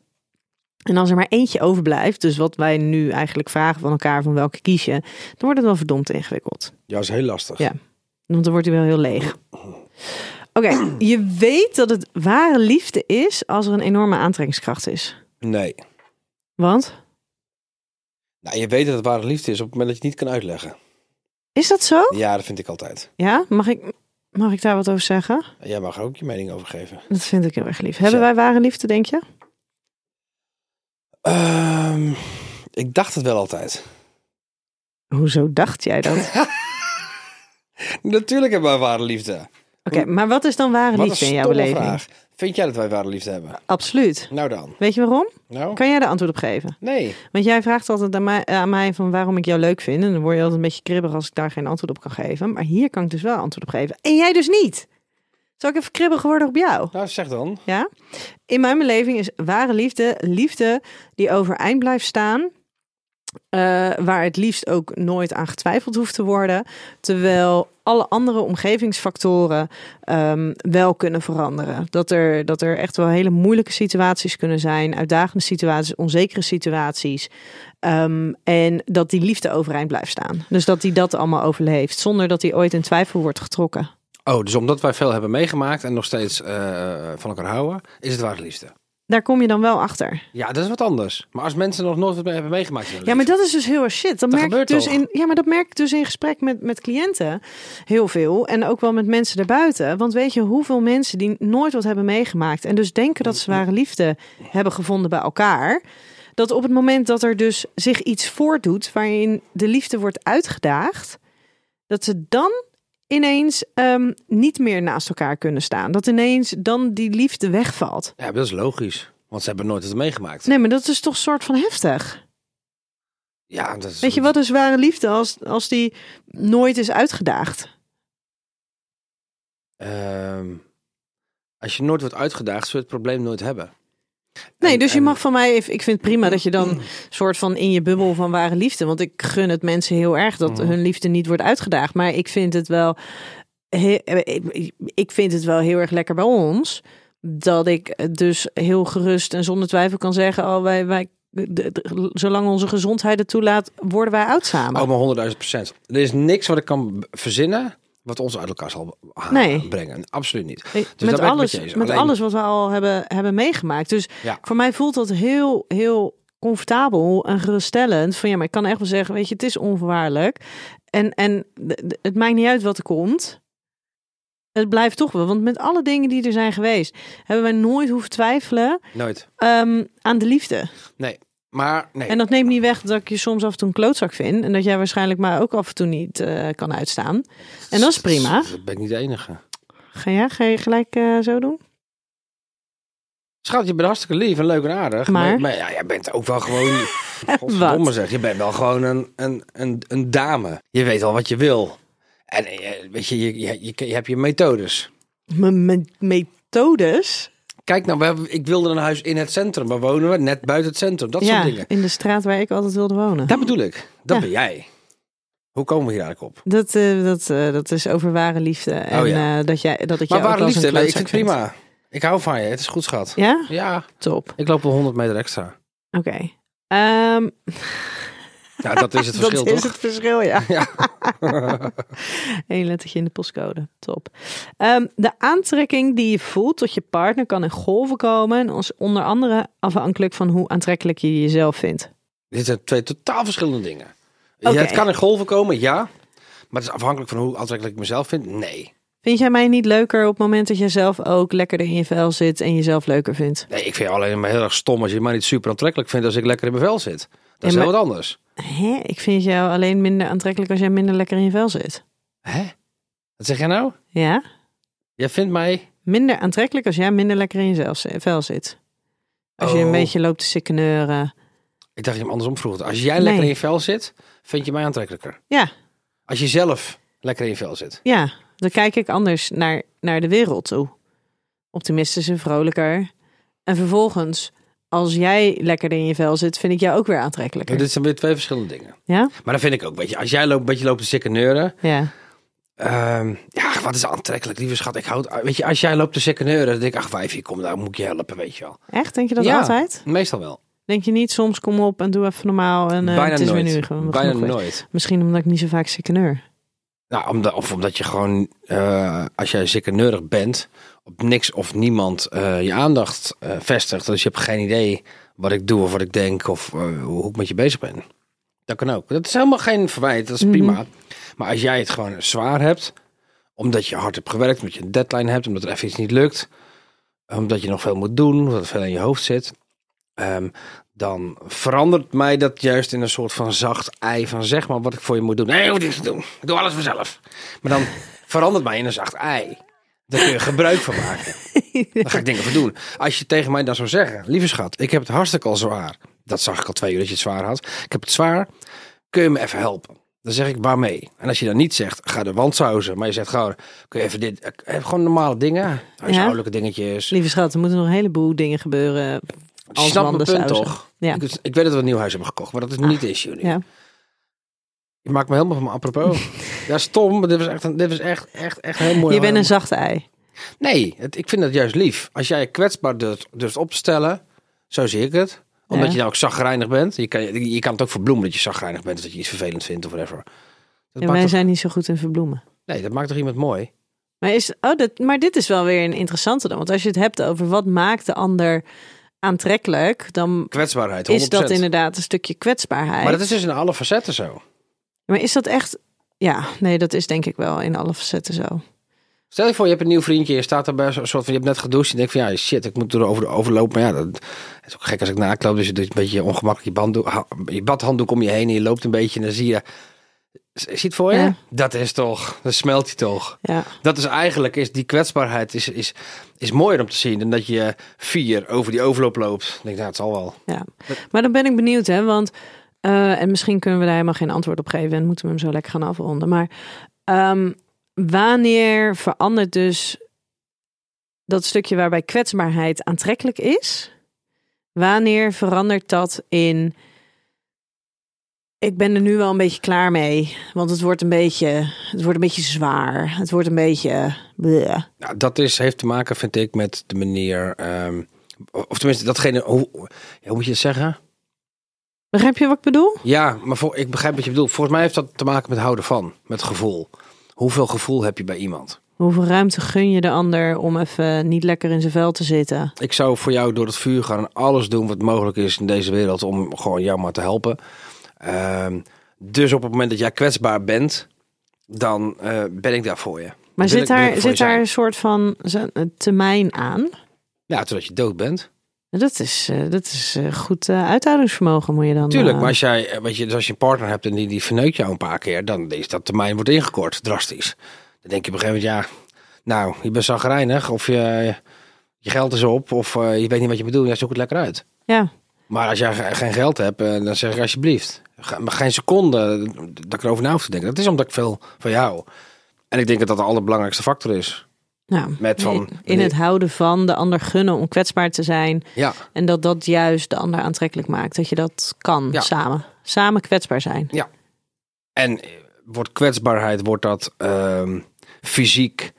En als er maar eentje overblijft, dus wat wij nu eigenlijk vragen van elkaar, van welke kies je, dan wordt het wel verdomd ingewikkeld. Ja, is heel lastig. Ja. Want dan wordt hij wel heel leeg. Oké, je weet dat het ware liefde is als er een enorme aantrekkingskracht is. Nee. Want, Nou, je weet dat het ware liefde is op het moment dat je het niet kan uitleggen. is dat zo? Ja, dat vind ik altijd. Ja, mag ik, mag ik daar wat over zeggen? Jij mag er ook je mening over geven. Dat vind ik heel erg lief. Hebben Zo. wij ware liefde, denk je? Ehm, ik dacht het wel altijd. Hoezo dacht jij dat? Oké, Natuurlijk hebben wij ware liefde. maar wat is dan ware Wat liefde een in jouw stomme beleving? vraag. Vind jij dat wij ware liefde hebben? Absoluut. Nou dan. Weet je waarom? Nou? Kan jij de antwoord op geven? Nee. Want jij vraagt altijd aan mij, aan mij van waarom ik jou leuk vind. En dan word je altijd een beetje kribbig als ik daar geen antwoord op kan geven. Maar hier kan ik dus wel antwoord op geven. En jij dus niet. Zal ik even kribbig worden op jou? Nou, zeg dan. Ja? In mijn beleving is ware liefde liefde die overeind blijft staan. eh, waar het liefst ook nooit aan getwijfeld hoeft te worden. Terwijl alle andere omgevingsfactoren ehm, wel kunnen veranderen. Dat er, dat er echt wel hele moeilijke situaties kunnen zijn. Uitdagende situaties, onzekere situaties. ehm, en dat die liefde overeind blijft staan. Dus dat die dat allemaal overleeft. Zonder dat die ooit in twijfel wordt getrokken. Oh, dus omdat wij veel hebben meegemaakt en nog steeds eh, van elkaar houden, is het ware liefde. Daar kom je dan wel achter. Ja, dat is wat anders. Maar als mensen nog nooit wat mee hebben meegemaakt. in hun Ja, maar leven- dat is dus heel erg shit. Dat, Dat merk ik gebeurt dus toch? in. Ja, maar dat merk ik dus in gesprek met, met cliënten heel veel. En ook wel met mensen daarbuiten. Want weet je hoeveel mensen die nooit wat hebben meegemaakt. En dus denken dat ze ware liefde hebben gevonden bij elkaar. Dat op het moment dat er dus zich iets voordoet waarin de liefde wordt uitgedaagd. Dat ze dan ineens ehm, niet meer naast elkaar kunnen staan. Dat ineens dan die liefde wegvalt. Ja, maar dat is logisch. Want ze hebben nooit wat meegemaakt. Nee, maar dat is toch een soort van heftig. Ja, dat is... Weet je wat is ware liefde als, als die nooit is uitgedaagd? Ehm, als je nooit wordt uitgedaagd, zul je het probleem nooit hebben. Nee, En- dus je en- Mm. mag van mij, even- ik vind het prima dat je dan soort van in je bubbel van ware liefde, want ik gun het mensen heel erg dat Mhm. hun liefde niet wordt uitgedaagd, maar ik vind het wel, he- ik- ik vind het wel heel erg lekker bij ons, dat ik dus heel gerust en zonder twijfel kan zeggen, oh wij, wij de- de- zolang onze gezondheid het toelaat, worden wij oud samen. Oh, maar 100.000 procent. Er is niks wat ik kan b- verzinnen wat ons uit elkaar zal ha- Nee. brengen. Absoluut niet. Ik- Dus daar ben ik Eh, met het alles, met je eens. met Alleen- alles wat we al hebben, hebben meegemaakt. Dus Ja. voor mij voelt dat heel, heel comfortabel en geruststellend. Van ja, maar ik kan echt wel zeggen, weet je, het is onvoorwaardelijk. En, en d- d- het maakt niet uit wat er komt. Het blijft toch wel. Want met alle dingen die er zijn geweest, hebben wij nooit hoeven twijfelen Nooit. ehm, aan de liefde. Nee. Maar nee. En dat neemt niet weg dat ik je soms af en toe een klootzak vind. En dat jij waarschijnlijk maar ook af en toe niet eh, kan uitstaan. En dat is prima. Dat ben ik niet de enige. Ga jij, ga je gelijk eh, zo doen? Schat, je bent hartstikke lief en leuk en aardig. Maar? Maar, ja, je bent ook wel gewoon... Godverdomme zeg. Je bent wel gewoon een, een, een, een dame. Je weet al wat je wil. En eh, weet je, je, je, je, je hebt je methodes. Mijn mijn methodes. Kijk nou, we hebben- ik wilde een huis in het centrum. Waar wonen we? Net buiten het centrum. Dat ja, soort dingen. in de straat waar ik altijd wilde wonen. Dat bedoel ik. Dat Ja. ben jij. Hoe komen we hier eigenlijk op? Dat, eh, dat, eh, dat is over ware liefde. En Oh ja. eh, dat, jij, dat ik Maar jou ook ware als liefde, een nee, ik klootzak vind het prima. Ik hou van je, het is goed schat. vind. Ja? Ja, Top. ik loop wel 100 meter extra. Oké. Ehm, Nou, dat is het verschil dat is toch? het verschil, ja. Ja. Eén lettertje in de postcode. Top. Ehm, de aantrekking die je voelt tot je partner kan in golven komen. En is onder andere afhankelijk van hoe aantrekkelijk je jezelf vindt. Dit zijn twee totaal verschillende dingen. Oké. Ja, het kan in golven komen, ja. Maar het is afhankelijk van hoe aantrekkelijk ik mezelf vind. Nee. Vind jij mij niet leuker op het moment dat jij zelf ook lekkerder in je vel zit en jezelf leuker vindt? Nee, ik vind je alleen maar heel erg stom als je mij niet super aantrekkelijk vindt als ik lekker in mijn vel zit. Dat is Ja, maar- heel wat anders. Hè? Ik vind jou alleen minder aantrekkelijk als jij minder lekker in je vel zit. Hè? Wat zeg jij nou? Ja? Jij vindt mij... Minder aantrekkelijk als jij minder lekker in jezelf zi- vel zit. Als je een Oh. beetje loopt te sikkeneuren. Ik dacht je hem andersom vroeg. Als jij Nee. lekker in je vel zit, vind je mij aantrekkelijker. Ja, Als je zelf lekker in je vel zit. ja. Dan kijk ik anders naar, naar de wereld toe. Optimistisch en vrolijker. En vervolgens, als jij lekkerder in je vel zit, vind ik jou ook weer Ja, dus- aantrekkelijker. dit zijn weer twee verschillende dingen. Ja? Maar dat vind ik ook, weet je. Als jij loopt, een beetje loopt te sikkeneuren. Ja. ehm, ja, wat is aantrekkelijk, lieve schat. Ik houd, weet je, als jij loopt te sikkeneuren, dan denk ik, ach wijfje, kom daar, moet ik je helpen, weet je wel. Echt? Denk je dat Ja. altijd? Meestal wel. Denk je niet soms, kom op en doe even normaal. En, eh, Bijna het is nooit. weer nu gewoon. Bijna genoeg geweest. nooit. Misschien omdat ik niet zo vaak sikkeneur. Nou, omdat, of omdat je gewoon, eh, als jij sikkeneurig bent, op niks of niemand eh, je aandacht eh, vestigt. Dus je hebt geen idee wat ik doe of wat ik denk of eh, hoe ik met je bezig ben. Dat kan ook. Dat is helemaal geen verwijt, Mhm. dat is prima. Maar als jij het gewoon zwaar hebt, omdat je hard hebt gewerkt, omdat je een deadline hebt, omdat er even iets niet lukt, omdat je nog veel moet doen, omdat er veel in je hoofd zit, ehm, dan verandert mij dat juist in een soort van zacht ei van zeg maar wat ik voor je moet doen. Nee, je hoeft niks te doen. Ik doe alles vanzelf. Maar dan verandert mij in een zacht ei. Daar kun je gebruik van maken. Daar ga ik dingen voor doen. Als je tegen mij dan zou zeggen, lieve schat, ik heb het hartstikke al zwaar. Dat zag ik al twee uur dat je het zwaar had. Ik heb het zwaar. Kun je me even helpen? Dan zeg ik waarmee. En als je dan niet zegt, ga de wand sausen. Maar je zegt gewoon, kun je even dit. eh, Gewoon normale dingen. Huishoudelijke dingetjes. Lieve schat, er moeten nog een heleboel dingen gebeuren. Je Als snapt mijn wanden punt sausen. toch? Ja. Ah. Ik, ik weet dat we een nieuw huis hebben gekocht, maar dat is niet de issue nu. Ja. Je maakt me helemaal van mijn apropos. ja, stom, maar dit was echt, een, dit was echt, echt, echt een heel mooi. Je bent een zachte ei. Nee, het- ik vind dat juist lief. Als jij je kwetsbaar durft, durft op te stellen, zo zie ik het. Omdat Ja. je nou ook zagrijnig bent. Je kan, je, je kan het ook verbloemen dat je zagrijnig bent, of dat je iets vervelend vindt of whatever. Dat En maakt wij toch- zijn niet zo goed in verbloemen. Nee, dat maakt toch iemand mooi? Maar, is, oh, dat, maar dit is wel weer een interessante dan. Want als je het hebt over wat maakt de ander aantrekkelijk, dan Kwetsbaarheid, 100%. is dat inderdaad een stukje kwetsbaarheid. Maar dat is dus in alle facetten zo. Maar is dat echt... Ja, nee, dat is denk ik wel in alle facetten zo. Stel je voor, je hebt een nieuw vriendje, je staat daarbij, zo- soort van, je hebt net gedoucht, je denkt van ja, shit, ik moet erover overlopen. Maar ja, dat het is ook gek als ik nakloop, dus je doet een beetje ongemakkelijk je, banddoek, ha- je badhanddoek om je heen en je loopt een beetje en dan zie je, zie je het voor je? Ja. Dat is toch, dat smelt je toch. Ja, Dat is eigenlijk, is die kwetsbaarheid is, is, is mooier om te zien dan dat je vier over die overloop loopt. Ik denk, nou, het zal wel. ja. Maar dan ben ik benieuwd, hè. Want, eh, en misschien kunnen we daar helemaal geen antwoord op geven. En moeten we hem zo lekker gaan afronden. Maar ehm, wanneer verandert dus dat stukje waarbij kwetsbaarheid aantrekkelijk is? Wanneer verandert dat in... Ik ben er nu wel een beetje klaar mee. Want het wordt een beetje, het wordt een beetje zwaar. Het wordt een beetje... bleh. Nou, dat is, heeft te maken, vind ik, met de manier, ehm, of tenminste, datgene, hoe, hoe moet je het zeggen? Begrijp je wat ik bedoel? Ja, maar voor, ik begrijp wat je bedoelt. Volgens mij heeft dat te maken met houden van, met gevoel. Hoeveel gevoel heb je bij iemand? Hoeveel ruimte gun je de ander om even niet lekker in zijn vel te zitten? Ik zou voor jou door het vuur gaan en alles doen wat mogelijk is in deze wereld om gewoon jou maar te helpen. Ehm, dus op het moment dat jij kwetsbaar bent, dan eh, ben ik daar voor je. Maar Wil zit ik- wil ik daar, voor zit je zijn. daar een soort van z- een termijn aan? Ja, totdat je dood bent. Dat is, eh, dat is eh, goed eh, uithoudingsvermogen moet je dan... Tuurlijk, eh, maar als, jij, eh, weet je, dus als je een partner hebt en die, die verneukt jou een paar keer, dan is dat termijn wordt ingekort, drastisch. Dan denk je op een gegeven moment, ja, nou, je bent zagrijnig of je, je geld is op of eh, je weet niet wat je moet doen, ja, zoek het lekker uit. Ja, Maar als jij ge- geen geld hebt, eh, dan zeg ik alsjeblieft, ge- maar geen seconde eh, dat ik erover na hoef te denken. Dat is omdat ik veel van jou. hou. En ik denk dat dat de allerbelangrijkste factor is. nou, Met van- in- in het houden van de ander gunnen om kwetsbaar te zijn. Ja, En dat dat juist de ander aantrekkelijk maakt. Dat je dat kan Ja. samen. Samen kwetsbaar zijn. en eh, wordt kwetsbaarheid, wordt dat ehm, fysiek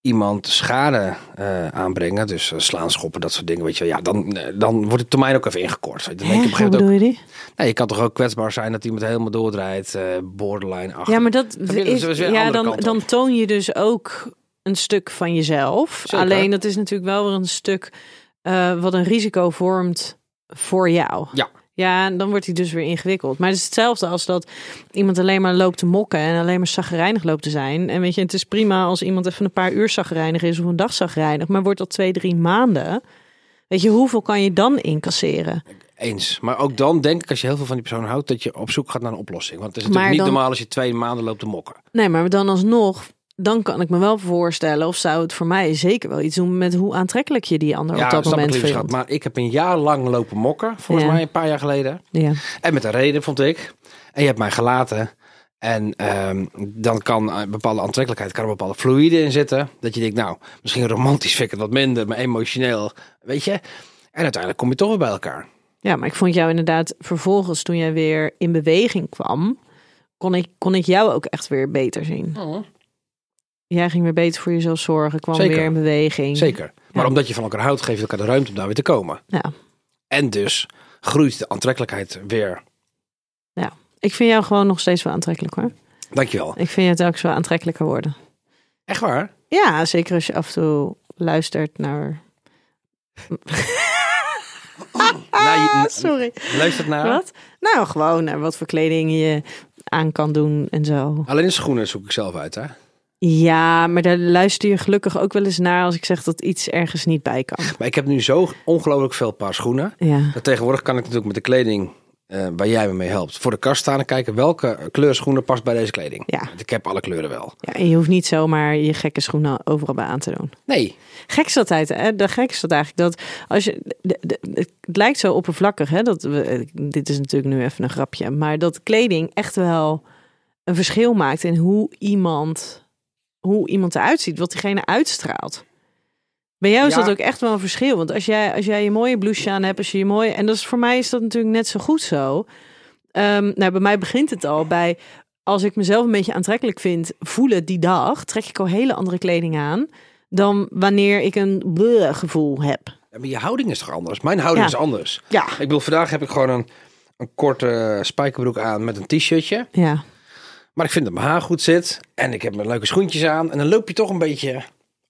iemand schade eh, aanbrengen, dus eh, slaan, schoppen, dat soort dingen, weet je wel. Ja, dan, eh, dan wordt de termijn ook even ingekort. Dan denk je op Hè? een Hoe gegeven moment bedoel ook, je die? nee, je kan toch ook kwetsbaar zijn dat iemand helemaal doordraait, eh borderline achter. Ja, maar dat je, dat is is, weer een ja, andere dan, kant op. dan toon je dus ook een stuk van jezelf. Zeker. Alleen dat is natuurlijk wel weer een stuk eh, wat een risico vormt voor jou. Ja. Ja, en dan wordt hij dus weer ingewikkeld. Maar het is hetzelfde als dat iemand alleen maar loopt te mokken en alleen maar zagrijnig loopt te zijn. En weet je, het is prima als iemand even een paar uur zagrijnig is of een dag zagrijnig. Maar wordt dat twee, drie maanden? Weet je, hoeveel kan je dan incasseren? Eens. Maar ook dan denk ik, als je heel veel van die persoon houdt, dat je op zoek gaat naar een oplossing. Want het is natuurlijk Maar niet dan- normaal als je twee maanden loopt te mokken. Nee, maar dan alsnog, dan kan ik me wel voorstellen, of zou het voor mij zeker wel iets doen met hoe aantrekkelijk je die ander op dat snap ik, moment lieve vindt. schat. Maar ik heb een jaar lang lopen mokken, volgens Ja. mij een paar jaar geleden. Ja. En met een reden, vond ik. En je hebt mij gelaten. En ehm, dan kan een bepaalde aantrekkelijkheid, kan een bepaalde fluïde in zitten. Dat je denkt, nou, misschien romantisch vind ik het wat minder, maar emotioneel, weet je. En uiteindelijk kom je toch weer bij elkaar. ja, maar ik vond jou inderdaad vervolgens toen jij weer in beweging kwam, kon ik, kon ik jou ook echt weer beter zien. Jij ging weer beter voor jezelf zorgen, kwam Zeker. weer in beweging. Zeker. Maar Ja. omdat je van elkaar houdt, geef je elkaar de ruimte om daar weer te komen. Ja. En dus groeit de aantrekkelijkheid weer. Ik vind jou gewoon nog steeds wel aantrekkelijk hoor. Dankjewel. Ik vind jou telkens wel aantrekkelijker worden. Echt waar? Ja, zeker als je af en toe luistert naar... Nou, je- Ah, na- sorry. Luistert naar. Wat? Nou, gewoon naar wat voor kleding je aan kan doen en zo. Alleen de schoenen zoek ik zelf uit, hè? Ja, maar daar luister je gelukkig ook wel eens naar als ik zeg dat iets ergens niet bij kan. Maar ik heb nu zo ongelooflijk veel paar schoenen. Ja, Dat tegenwoordig kan ik natuurlijk met de kleding eh, waar jij me mee helpt. Voor de kast staan en kijken welke kleur schoenen past bij deze kleding. Ja. Want ik heb alle kleuren wel. Ja, en je hoeft niet zomaar je gekke schoenen overal bij aan te doen. Nee, Gek is dat eigenlijk, hè? De gek is dat eigenlijk. Dat als je, de- de- het lijkt zo oppervlakkig, hè? Dat we, eh, dit is natuurlijk nu even een grapje. Maar dat kleding echt wel een verschil maakt in hoe iemand, hoe iemand eruit ziet. Wat diegene uitstraalt. Bij jou is Ja. dat ook echt wel een verschil. Want als jij, als jij je mooie blouse aan hebt, als je je mooie... En dat is, voor mij is dat natuurlijk net zo goed zo. Ehm, nou, bij mij begint het al bij... Als ik mezelf een beetje aantrekkelijk vind voelen die dag... trek ik al hele andere kleding aan... dan wanneer ik een bleh gevoel heb. Ja, maar je houding is toch anders? Mijn houding Ja. is anders. Ja. Ik bedoel, vandaag heb ik gewoon een, een korte spijkerbroek aan met een t-shirtje. Ja. Maar ik vind dat mijn haar goed zit. En ik heb mijn leuke schoentjes aan. En dan loop je toch een beetje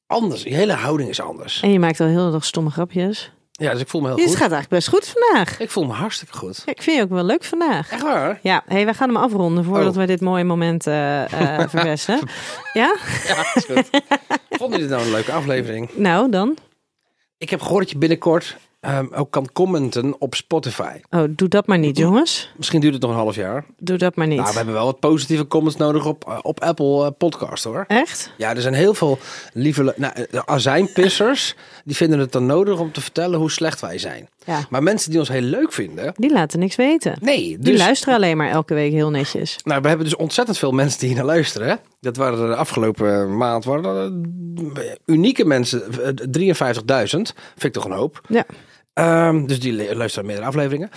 anders. Je hele houding is anders. En je maakt al heel erg stomme grapjes. Ja, dus ik voel me heel Dit goed. gaat eigenlijk best goed vandaag. Ik voel me hartstikke goed. Ja, ik vind je ook wel leuk vandaag. Echt waar? Ja, hey, wij gaan hem afronden voordat Oh. we dit mooie moment eh eh verpesten. ja? Ja, is goed. Vonden jullie dit nou een leuke aflevering? Nou, dan. Ik heb gehoord dat je binnenkort ehm, ook kan commenten op Spotify. Oh, doe dat maar niet, jongens. Misschien duurt het nog een half jaar. Doe dat maar niet. Nou, we hebben wel wat positieve comments nodig op, eh, op Apple eh, Podcast hoor. Echt? Ja, er zijn heel veel lieve lu- nou, eh, de azijnpissers. Die vinden het dan nodig om te vertellen hoe slecht wij zijn. Ja. Maar mensen die ons heel leuk vinden. Die laten niks weten. Nee, Die dus. luisteren alleen maar elke week heel netjes. Nou, we hebben dus ontzettend veel mensen die hier naar luisteren. Hè? Dat waren er de afgelopen maand waren er, eh, unieke mensen. eh, 53.000. Vind ik toch een hoop. Ja. Ehm, dus die le- luisteren meerdere afleveringen.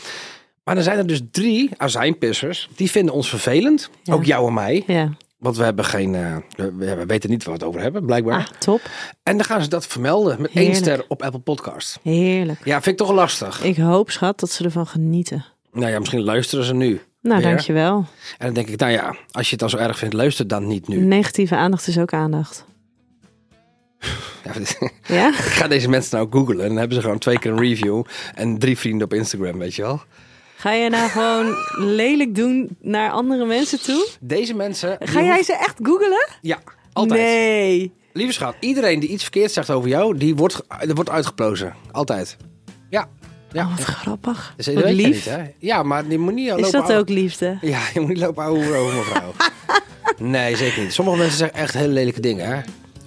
Maar dan zijn er dus drie azijnpissers. Die vinden ons vervelend. Ja. Ook jou en mij. Ja. Want we hebben geen. eh, we, we weten niet waar we het over hebben, blijkbaar. Ah, top. En dan gaan ze dat vermelden met één Heerlijk. ster op Apple Podcast. Heerlijk. Ja, vind ik toch lastig. Ik hoop, schat, dat ze ervan genieten. Nou ja, misschien luisteren ze nu. Nou, Weer. dankjewel. En dan denk ik, nou ja, als je het dan zo erg vindt, luister dan niet nu. Negatieve aandacht is ook aandacht. Ja, dit- Ja? ik ga deze mensen nou googlen. En dan hebben ze gewoon twee keer een review. En drie vrienden op Instagram, weet je wel. Ga je nou gewoon lelijk doen naar andere mensen toe? Deze mensen. die Ga jij hoeven- ze echt googelen? Ja, altijd. Nee. Lieve schat, iedereen die iets verkeerd zegt over jou, die wordt, ge- die wordt uitgeplozen. Altijd. Ja. Ja. Oh, wat grappig. Dus dat wat weet jij lief. niet, hè? Ja, maar die moet niet is lopen dat ouwe- ook liefde? Ja, je moet niet lopen ouwe hoeren over mevrouw. nee, zeker niet. Sommige mensen zeggen echt hele lelijke dingen, hè?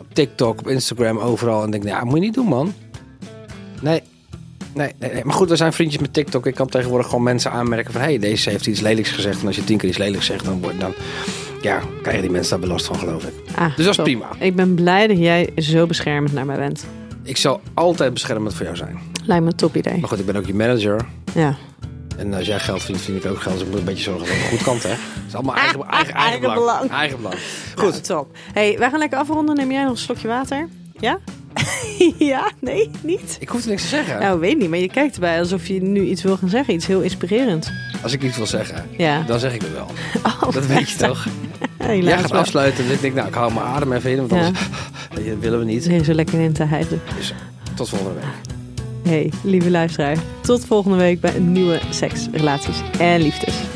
Op TikTok, op Instagram, overal. En denk ik, nou, moet je niet doen, man. Nee. Nee, nee, nee. Maar goed, we zijn vriendjes met TikTok. Ik kan tegenwoordig gewoon mensen aanmerken van... hé, hey, deze heeft iets lelijks gezegd. En als je tien keer iets lelijks zegt, dan, wordt- dan ja, krijgen die mensen daar belast van, geloof ik. Ah, Dus dat is top. prima. Ik ben blij dat jij zo beschermend naar mij bent. Ik zal altijd beschermend voor jou zijn. Lijkt me een top idee. Maar goed, ik ben ook je manager. Ja. En als jij geld verdient, vind ik ook geld. Dus ik moet een beetje zorgen dat het goed kant, hè? Het is allemaal eigen, eigen, eigen, Eigen belang. belang. Eigen belang. Goed. Goed. top. hey, wij gaan lekker afronden. Neem jij nog een slokje water? Ja? ja? Nee? Niet? Ik hoef er niks te zeggen. Nou, weet niet. Maar je kijkt erbij alsof je nu iets wil gaan zeggen. Iets heel inspirerends. Als ik iets wil zeggen, Ja. dan zeg ik het wel. Oh, Dat weet je toch? Helaas Jij gaat maar. afsluiten. Dus ik denk, nou, ik hou mijn adem even in. Want Ja. anders dat willen we niet. Het is zo lekker in te hijgen. Dus tot volgende week. Hey, lieve luisteraar. Tot volgende week bij een nieuwe seks, relaties en liefdes.